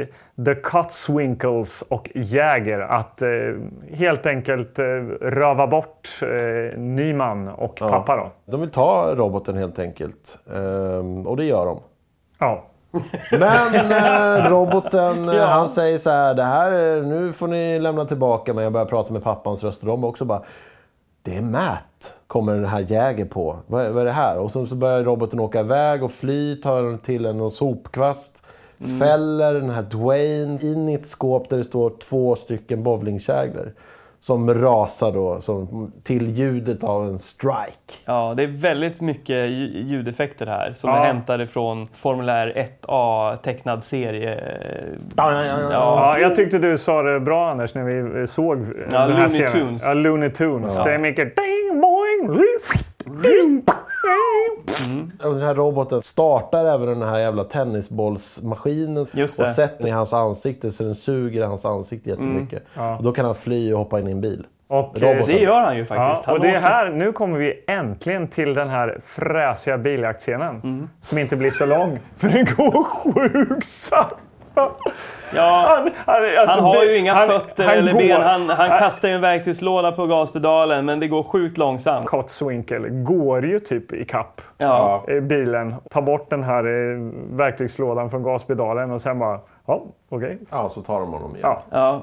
eh, The Cotswinkles och Jäger att eh, helt enkelt eh, röva bort eh, Nyman och pappa. Då.
De vill ta roboten helt enkelt. Ehm, och det gör de.
Ja.
Men eh, roboten, eh, han säger så här, det här, är- nu får ni lämna tillbaka mig. Jag börjar prata med pappans röst och de också bara, det är Matt, kommer den här jäger på. Vad, vad är det här? Och så, så börjar roboten åka iväg och fly, tar till en någon sopkvast. Fäller den här Dwayne in i ett skåp där det står två stycken bowlingkäglor. Som rasar då som, till ljudet av en strike.
Ja, det är väldigt mycket lju- ljudeffekter här som
Ja.
är hämtade från Formulär 1A tecknad serie. eh,
Ja, jag tyckte du sa det bra Anders när vi eh, såg eh, den här
Looney
serien.
Tunes.
Ja, Looney Tunes. Det är mycket ding, boing, lis- ding, boing.
Och Den här roboten startar även den här jävla tennisbollsmaskinen
Just
och
det.
sätter i hans ansikte så den suger hans ansikte jättemycket.
Mm.
Och då kan han fly och hoppa in i en bil.
Och, eh,
Roboten.
Det gör han ju
Ja,
faktiskt. Han
och det är
åker-
här, nu kommer vi äntligen till den här fräsiga biljaktscenen.
Mm.
Som inte blir så lång, för den går sjukt sakta.
Ja,
Han, han, alltså,
han har
det-
ju inga
han-
fötter
han
eller
går- Äh,
ben. Han, han kastar ju en verktygslåda på gaspedalen men det går sjukt långsamt.
Kotswinkel går ju typ i kapp
Ja.
eh, bilen. Tar bort den här eh, verktygslådan från gaspedalen och sen bara, ja, okej.
Ja, så tar de honom igen.
Ja.
Ja.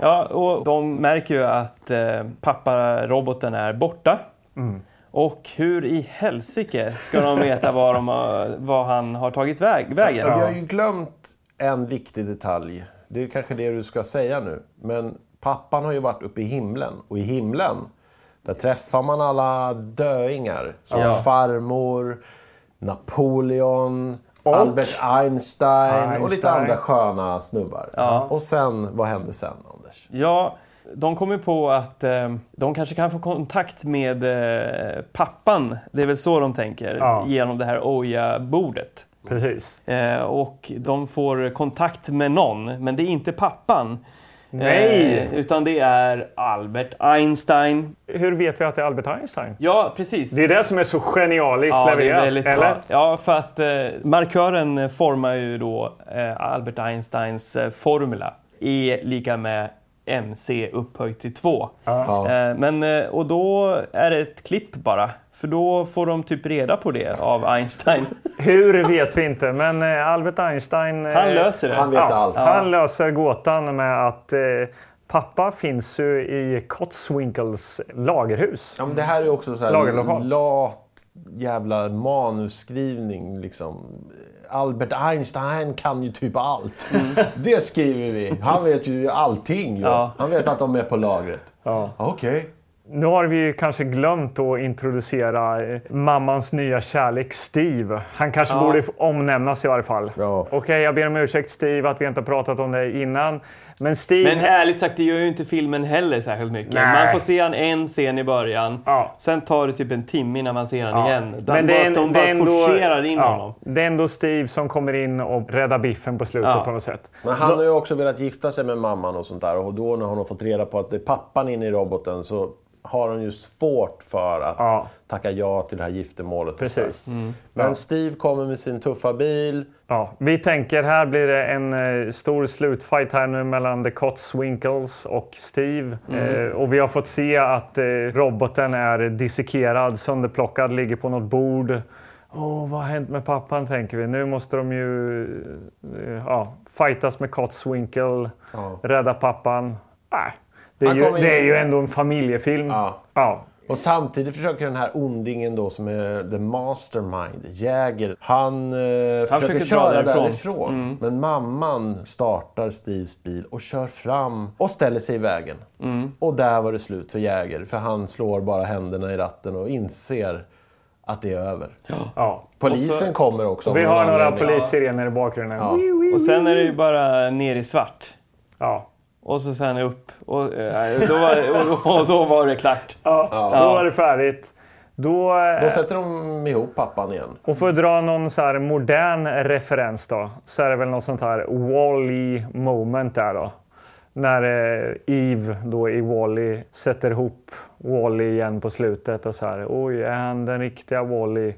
ja, och de märker ju att eh, papparoboten är borta.
Mm.
Och hur i helsike ska de veta var, de har, var han har tagit väg, vägen?
Vi har ju glömt en viktig detalj. Det är kanske det du ska säga nu. Men pappan har ju varit uppe i himlen. Och i himlen, där träffar man alla döingar. Som
Ja.
farmor, Napoleon, Albert Einstein, och lite
Einstein.
andra sköna snubbar. Och sen, vad hände sen Anders?
Ja, de kommer på att eh, de kanske kan få kontakt med eh, pappan. Det är väl så de tänker,
Ja.
genom det här Oja-bordet.
Precis.
Eh, och de får kontakt med någon, men det är inte pappan.
Nej!
Eh, utan det är Albert Einstein.
Hur vet vi att det är Albert Einstein?
Ja, precis.
Det är det som är så genialiskt
Ja, det är
levererat.
väldigt
eller?
bra. Ja, för att eh, markören formar ju då eh, Albert Einsteins eh, formula. E lika med mc upphöjt till 2. Eh, men, eh, och då är det ett klipp bara. För då får de typ reda på det av Einstein.
Hur vet vi inte, men eh, Albert Einstein... eh,
Han löser det.
Han vet
ja,
allt.
Han löser gåtan med att eh, pappa finns ju i Kotzwinkels lagerhus.
Ja, men det här är också så här
Lagerlokal.
lat jävla manusskrivning. Liksom. Albert Einstein kan ju typ allt.
Mm.
Det skriver vi. Han vet ju allting. ju.
Ja.
Han vet att de är på lagret. Ja. Okej.
Nu har vi ju kanske glömt att introducera eh, mammans nya kärlek Steve. Han kanske borde f- omnämnas i varje fall.
Ja.
Okej, jag ber om ursäkt Steve att vi inte har pratat om det innan. Men Steve...
Men ärligt sagt, det gör ju inte filmen heller särskilt mycket.
Nej.
Man får se han en scen i början.
Ja.
Sen tar det typ en timme innan man ser han igen. De
Men
bara, de bara forcerar in
ja,
honom.
Det är ändå Steve som kommer in och räddar biffen på slutet
Ja.
på något sätt.
Men han har ju också velat gifta sig med mamman och sånt där. Och då när hon har fått reda på att det är pappan inne i roboten så har hon ju svårt för att
Ja.
tacka ja till det här giftermålet. och
Precis.
sådär. Men Steve kommer med sin tuffa bil.
Ja, vi tänker här blir det en eh, stor slutfight här nu mellan The Cotswinkles och Steve.
Mm.
Eh, och vi har fått se att eh, roboten är dissekerad, sönderplockad, ligger på något bord. Åh, vad har hänt med pappan tänker vi. Nu måste de ju eh, ja, fightas med Cotswinkel, rädda pappan. Nej, det är,
Han
ju,
kommer in-
det är ju ändå en familjefilm.
Ja.
Ja,
Och samtidigt försöker den här ondingen då som är the mastermind, Jäger, han, eh, försöker,
försöker dra
köra
därifrån.
därifrån.
Mm.
Men mamman startar Steves bil och kör fram och ställer sig i vägen.
Mm.
Och där var det slut för Jäger, för han slår bara händerna i ratten och inser att det är över.
ja.
Polisen kommer också. av
Vi
någon
har några
anledning.
polissirener i bakgrunden. Ja.
Och sen är det ju bara ner i svart.
Ja.
Och så sen upp. Och, eh, då, var, och, och då var det klart.
Då är det färdigt. Då, eh,
Då sätter de ihop pappan igen.
Och för att dra någon så här modern referens då, så är det väl något sånt här Wall-E moment där då. När eh, Eve då i Wall-E sätter ihop Wall-E igen på slutet och så här. Oj, är han den riktiga Wall-E?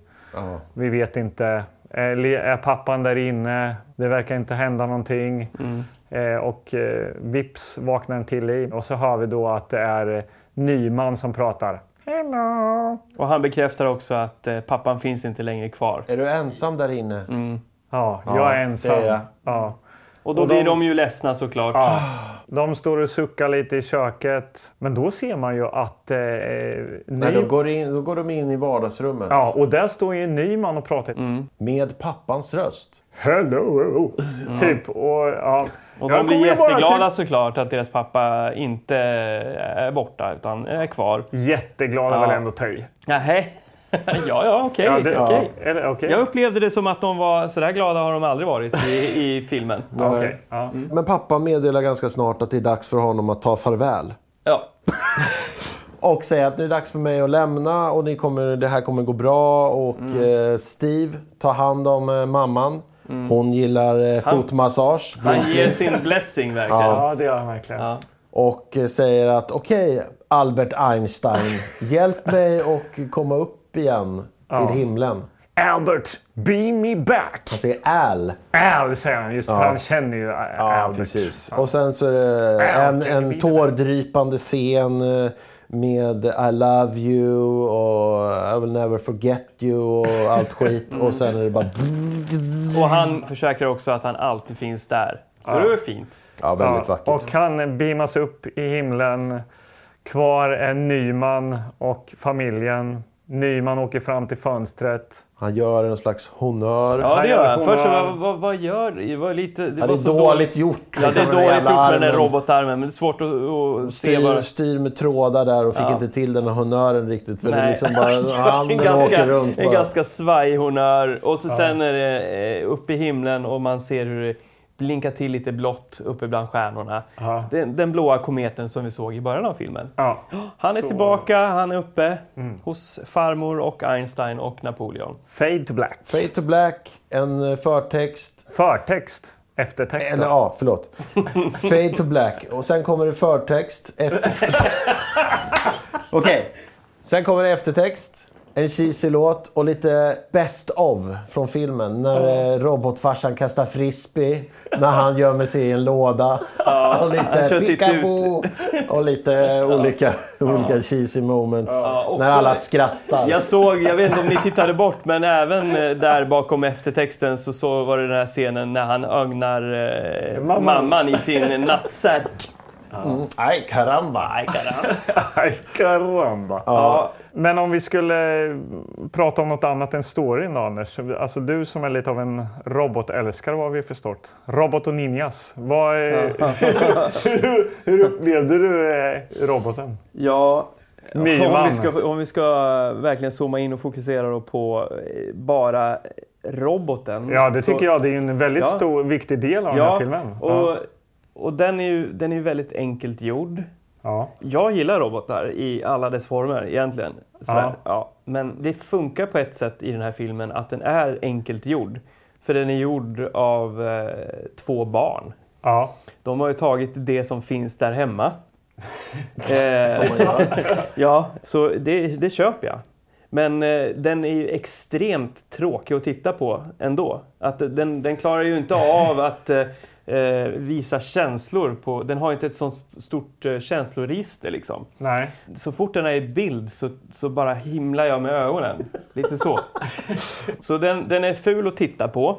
Vi vet inte. Är, le- är pappan där inne? Det verkar inte hända någonting. Eh, och eh, vips vaknar en till Eve och så hör vi då att det är eh, Nyman som pratar. Hello!
Och han bekräftar också att eh, pappan finns inte längre kvar.
Mm.
Är du ensam där inne?
Ja, jag är
det
ensam.
är jag.
Ja.
Och då
Och
blir de...
de-
ju ledsna såklart.
De står och suckar lite i köket. Men då ser man ju att... Eh,
Nej, då
Neil-
går, in, då går de in i vardagsrummet
Ja, och där står ju Nyman och pratar.
med pappans röst.
Hello! Typ. Och, ja.
Och
Jag
de blir
kommer ju bara
jätteglada
Typ,
såklart att deras pappa inte eh, är borta utan är kvar.
Mm. jätteglada
Ja.
väl ändå ta i.
Nähä. ja, ja, okej.
Ja, det-
okej.
Eller, okej.
Jag upplevde det som att de var sådär glada har de aldrig varit i, i filmen.
Ja, okej. Ja.
Mm. Men pappa meddelar ganska snart att det är dags för honom att ta farväl.
Ja.
Och säga att det är dags för mig att lämna och ni kommer, det här kommer gå bra. Och
Mm.
eh, Steve tar hand om eh, mamman.
Mm.
Hon gillar eh, fotmassage.
Han ger sin blessing verkligen.
ja, det gör han verkligen.
Och eh, säger att okej Albert Einstein, hjälp mig och komma upp igen till himlen.
Albert, be me back!
Han säger Al.
Al säger han just för han känner ju eh, Al.
Ja, precis. Och sen så är det en, en tårdrypande scen eh, med I love you och I will never forget you och allt skit. Och sen är det bara...
Och han försäkrar också att han alltid finns där. Så det är fint.
Ja, väldigt
Ja,
vackert.
Och han beamas upp i himlen. Kvar är Nyman och familjen. Nyman åker fram till fönstret.
Han gör en slags honnör.
Ja, det gör han.
gör-
Först så, vad, vad, vad gör det? det? Var lite, det,
Ja, det
var
är
så
dåligt gjort.
Ja, det är
liksom, den där
dåligt gjort
jävla
med den där
armen.
robotarmen. Men det är svårt att, att se
Styr,
vad...
styr med trådar där och fick
Ja.
inte till den honnören riktigt. För det
Nej.
är liksom bara handen åker runt.
en
Bara.
ganska svajig honnör. Och så sen är det eh, uppe i himlen och man ser hur det blinkar till lite blått uppe bland stjärnorna.
Ja.
Den, den blåa kometen som vi såg i början av filmen.
Ja.
Han är
Så-
tillbaka, han är uppe hos farmor och Einstein och Napoleon.
Fade to black.
Fade to black, en eh, förtext.
Förtext. Eftertext.
Eller
då.
ja, förlåt. Fade to black. Och sen kommer det förtext. Efter... Okej. Sen kommer det eftertext. En cheesy låt och lite best of från filmen. När eh, robotfarsan kastar frisbee. När han gömmer sig i en låda. och
han kör
lite
titt
pickaboo. Och lite olika, olika cheesy moments.
också-
När alla skrattar.
Jag såg, jag vet inte om ni tittade bort, men även eh, där bakom eftertexten så, så var det den här scenen när han ögnar eh, mamman.
Mamman.
i sin nattsäck.
Aj, caramba.
Aj, karamba.
Aj, Karamba.
Ja,
Men om vi skulle prata om något annat än storyn då, Anders. Alltså du som är lite av en robotälskare vad vi har förstått. Robot och ninjas. Vad är, hur, hur upplevde du eh, roboten?
ja. Om,
Nyman.
vi ska, om vi ska eh, verkligen zooma in och fokusera då på eh, bara roboten.
Ja, det
så-
tycker jag. Det är en väldigt
Ja.
stor, viktig del av den här
Ja,
filmen.
och, och den är ju den är ju väldigt enkelt gjord.
ja.
Jag gillar robotar i alla dess former egentligen. Så här,
Ja.
ja. Men det funkar på ett sätt i den här filmen att den är enkelt gjord. För den är gjord av eh, två barn.
Ja.
De har ju tagit det som finns där hemma. eh, ja, så det, det köper jag. Men eh, den är ju extremt tråkig att titta på ändå. Att den, den klarar ju inte av att eh, eh, visa känslor. På, den har ju inte ett sånt stort eh, känsloregister liksom.
Nej.
Så fort den är i bild så, så bara himlar jag med ögonen. Lite så. Så den, den är ful att titta på.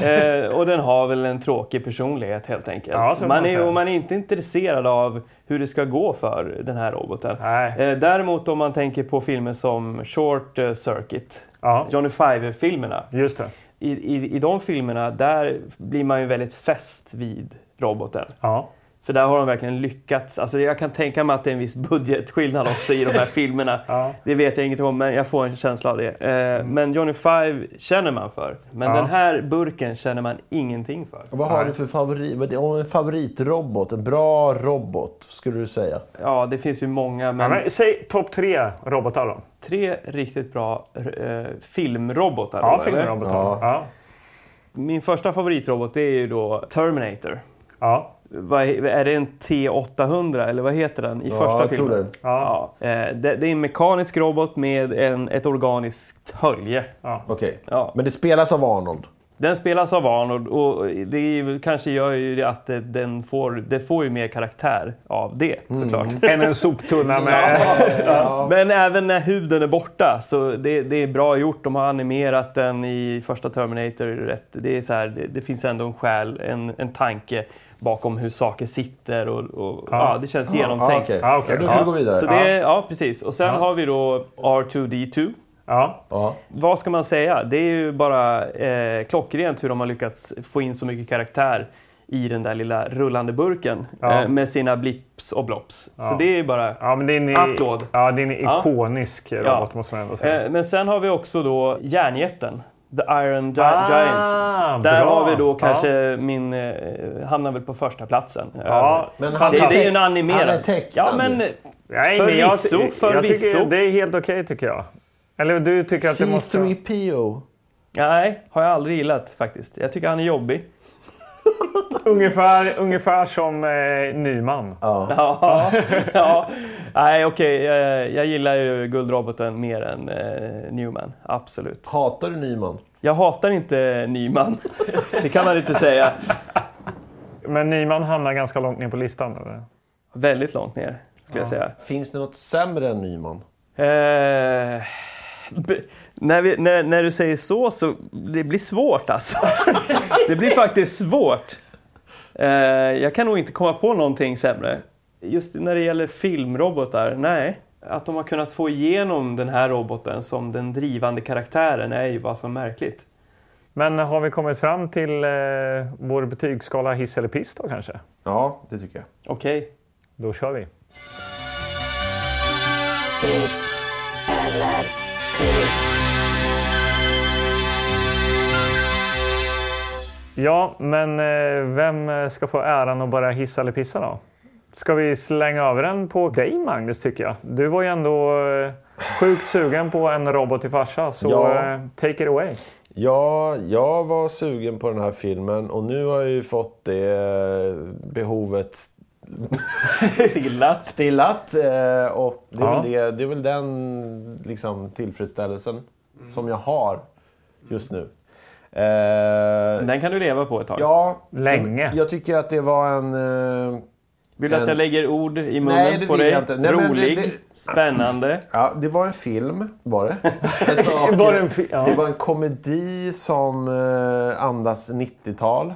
Eh, och den har väl en tråkig personlighet helt enkelt.
Ja, så kan
man
man
är,
säga.
och man är inte intresserad av hur det ska gå för den här roboten.
Nej.
Eh, däremot om man tänker på filmer som Short eh, Circuit,
Ja.
Johnny Five-filmerna.
Just det.
I, i, I de filmerna där blir man ju väldigt fäst vid roboten.
Ja.
För där har de verkligen lyckats. Alltså jag kan tänka mig att det är en viss budgetskillnad också i de här filmerna.
Ja.
Det vet jag inget om, men jag får en känsla av det. Eh,
Mm.
Men Johnny Five känner man för. Men den här burken känner man ingenting för.
Vad har du för favorit, vad- om en favoritrobot? En bra robot, skulle du säga?
Ja, det finns ju många,
Ja,
men
men, säg topp tre robotar då.
tre riktigt bra eh, filmrobotar. då,
Ja,
eller?
filmrobotar. Ja. Ja.
Min första favoritrobot det är ju då Terminator.
Ja.
Vad, he- är det en T800 eller vad heter den i
Ja,
första
jag
filmen?
tror det.
Ja. Eh, det. Det är en mekanisk robot med en, ett organiskt hölje.
Okej.
Ja.
Men det spelas av Arnold.
Den spelas av Arnold och det är, ju- kanske gör ju det att det- den får, det får ju mer karaktär av det såklart.
Än en soptunna med...
Men även när huden är borta, så det, det är bra gjort. De har animerat den i första Terminator. Rätt. Det, är så här, det, det finns ändå en själ, en, en tanke bakom hur saker sitter. Och, och, ja. det känns
Ja,
genomtänkt.
okej.
Ja, okej.
Ja, då får
Ja.
du gå vidare.
Så det, är- ja, precis. Och sen har vi då R2D2.
Ja.
Ja.
Vad ska man säga? Det är ju bara eh, klockrent hur de har lyckats få in så mycket karaktär i den där lilla rullande burken
Ja.
eh, med sina blips och blops. Så det är ju bara
Ja, men det är en,
Applåd.
Ja, det är en
Ja.
ikonisk robot måste man ändå säga.
Eh, Men sen har vi också då järnjätten, The Iron Gi- Giant.
Ah,
Där
bra.
har vi då
Ja.
kanske min, eh, hamnar väl på första platsen.
Ja,
Men han-
Det, det är ju en
Han är
animerad.
tecknad
Ja, men eh,
ju.
Nej, men jag,
förvisso,
jag
förvisso.
tycker det är helt okej tycker jag. Eller du tycker att det måste...
C3PO.
nej, har jag aldrig gillat faktiskt. Jag tycker han är jobbig.
Ungefär, ungefär som eh, Nyman.
Ja, ja. Nej, okej. eh, Jag gillar ju guldroboten mer än eh, Newman. Absolut.
Hatar du Nyman?
Jag hatar inte Nyman. Det kan man inte säga.
Men Nyman hamnar ganska långt ner på listan. Eller?
Väldigt långt ner, skulle jag säga.
Finns det något sämre än Nyman?
Eh, b- när, vi, när, när du säger så, så det blir svårt alltså. det blir faktiskt svårt. Eh, jag kan nog inte komma på någonting sämre. Just när det gäller filmrobotar, nej. Att de har kunnat få igenom den här roboten som den drivande karaktären är ju bara så märkligt.
Men har vi kommit fram till eh, vår betygsskala hiss eller piss då kanske?
Ja, det tycker jag.
Okej.
Då kör vi. Ja, men eh, vem ska få äran att börja hissa eller pissa då? Ska vi slänga över den på dig Magnus tycker jag. Du var ju ändå eh, sjukt sugen på en robot till farsa, så
Ja.
eh, take it away.
Ja, jag var sugen på den här filmen och nu har jag ju fått det behovet
Stilla.
stillat. eh, Och det är,
Ja.
väl, det, det är väl den liksom, tillfredsställelsen som jag har just nu. Eh,
Den kan du leva på ett tag.
ja,
Länge.
jag tycker att det var en... eh,
Vill du att jag
en-
lägger ord i munnen
Nej, det
på
vill
dig?
jag inte. Nej, men det-
Rolig,
det-
spännande.
Ja, det var en film, var det. En sak-
Var det en fi- ja.
det var en komedi som eh, andas 90-tal.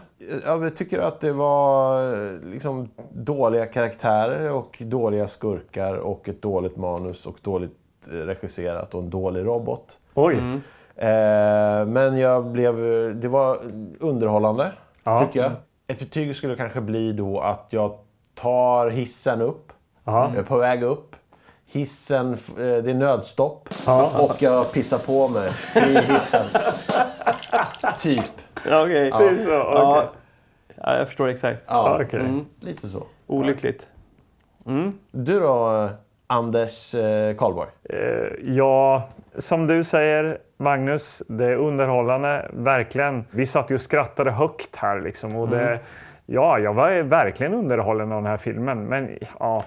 Eh, Jag tycker att det var eh, liksom, dåliga karaktärer och dåliga skurkar och ett dåligt manus och dåligt eh, regisserat och en dålig robot.
Oj,
Eh, men jag blev, eh, det var underhållande,
Ja.
tycker jag. Ett betyg skulle kanske bli då att jag tar hissen upp.
Ja.
Jag är på väg upp. Hissen, f- eh, det är nödstopp.
Ja.
Och jag pissar på mig i hissen. typ.
Okej.
det är så. okej.
Ja. ja, jag förstår exakt.
Ja,
Okej.
lite så.
Olyckligt.
Du då, eh, Anders eh, Karlborg?
Eh, Ja, som du säger Magnus, det är underhållande, verkligen. Vi satt ju och skrattade högt här liksom. Och det,
Mm.
Ja, jag var verkligen underhållen av den här filmen, men ja...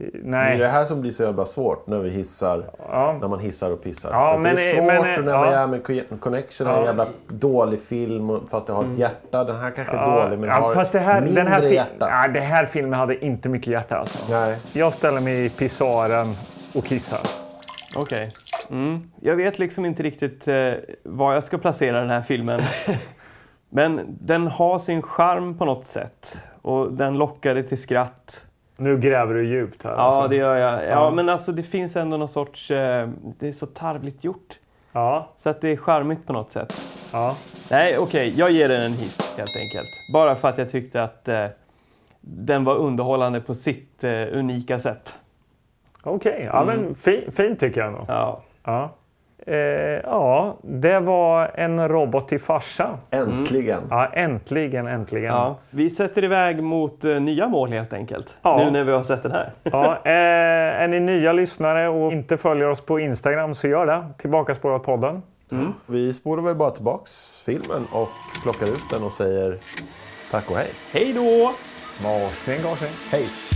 Det är det
Nej.
här som blir så jävla svårt när vi hissar.
Ja.
När man hissar och pissar.
Ja,
För att
men-
det är svårt
men-
och när
ja.
man gör med Co- Connection, en jävla dålig film och- fast det har ett hjärta. Den här kanske är dålig men har
Mm. fast det här,
mindre
den här, fi-
hjärta.
ja, det här filmen hade inte mycket hjärta alltså.
Nej.
Jag ställer mig i pissoaren och kissar.
Okej. Mm. Jag vet liksom inte riktigt eh, var jag ska placera den här filmen. Men den har sin charm på något sätt. Och den lockade till skratt.
Nu gräver du djupt här.
Ja,
alltså.
det gör jag. Ja, men alltså det finns ändå någon sorts... Eh, det är så tarvligt gjort.
ja,
Så att det är charmigt på något sätt.
ja.
Nej, okej. Jag ger den en hiss helt enkelt. Bara för att jag tyckte att eh, den var underhållande på sitt eh, unika sätt.
Okej, ja,
Mm.
men fi- fint tycker jag ändå.
Ja.
Ja. Eh, ja, det var en robot till farsa.
Äntligen.
Ja, äntligen, äntligen. Ja.
Ja. Vi sätter iväg mot eh, nya mål helt enkelt.
Ja.
Nu när vi har sett den här.
eh, är ni nya lyssnare och inte följer oss på Instagram så gör det. Tillbaka spårat podden.
Vi spolar väl bara tillbaks filmen och plockar ut den och säger tack och hej.
Hej då!
Varsågod,
Hej!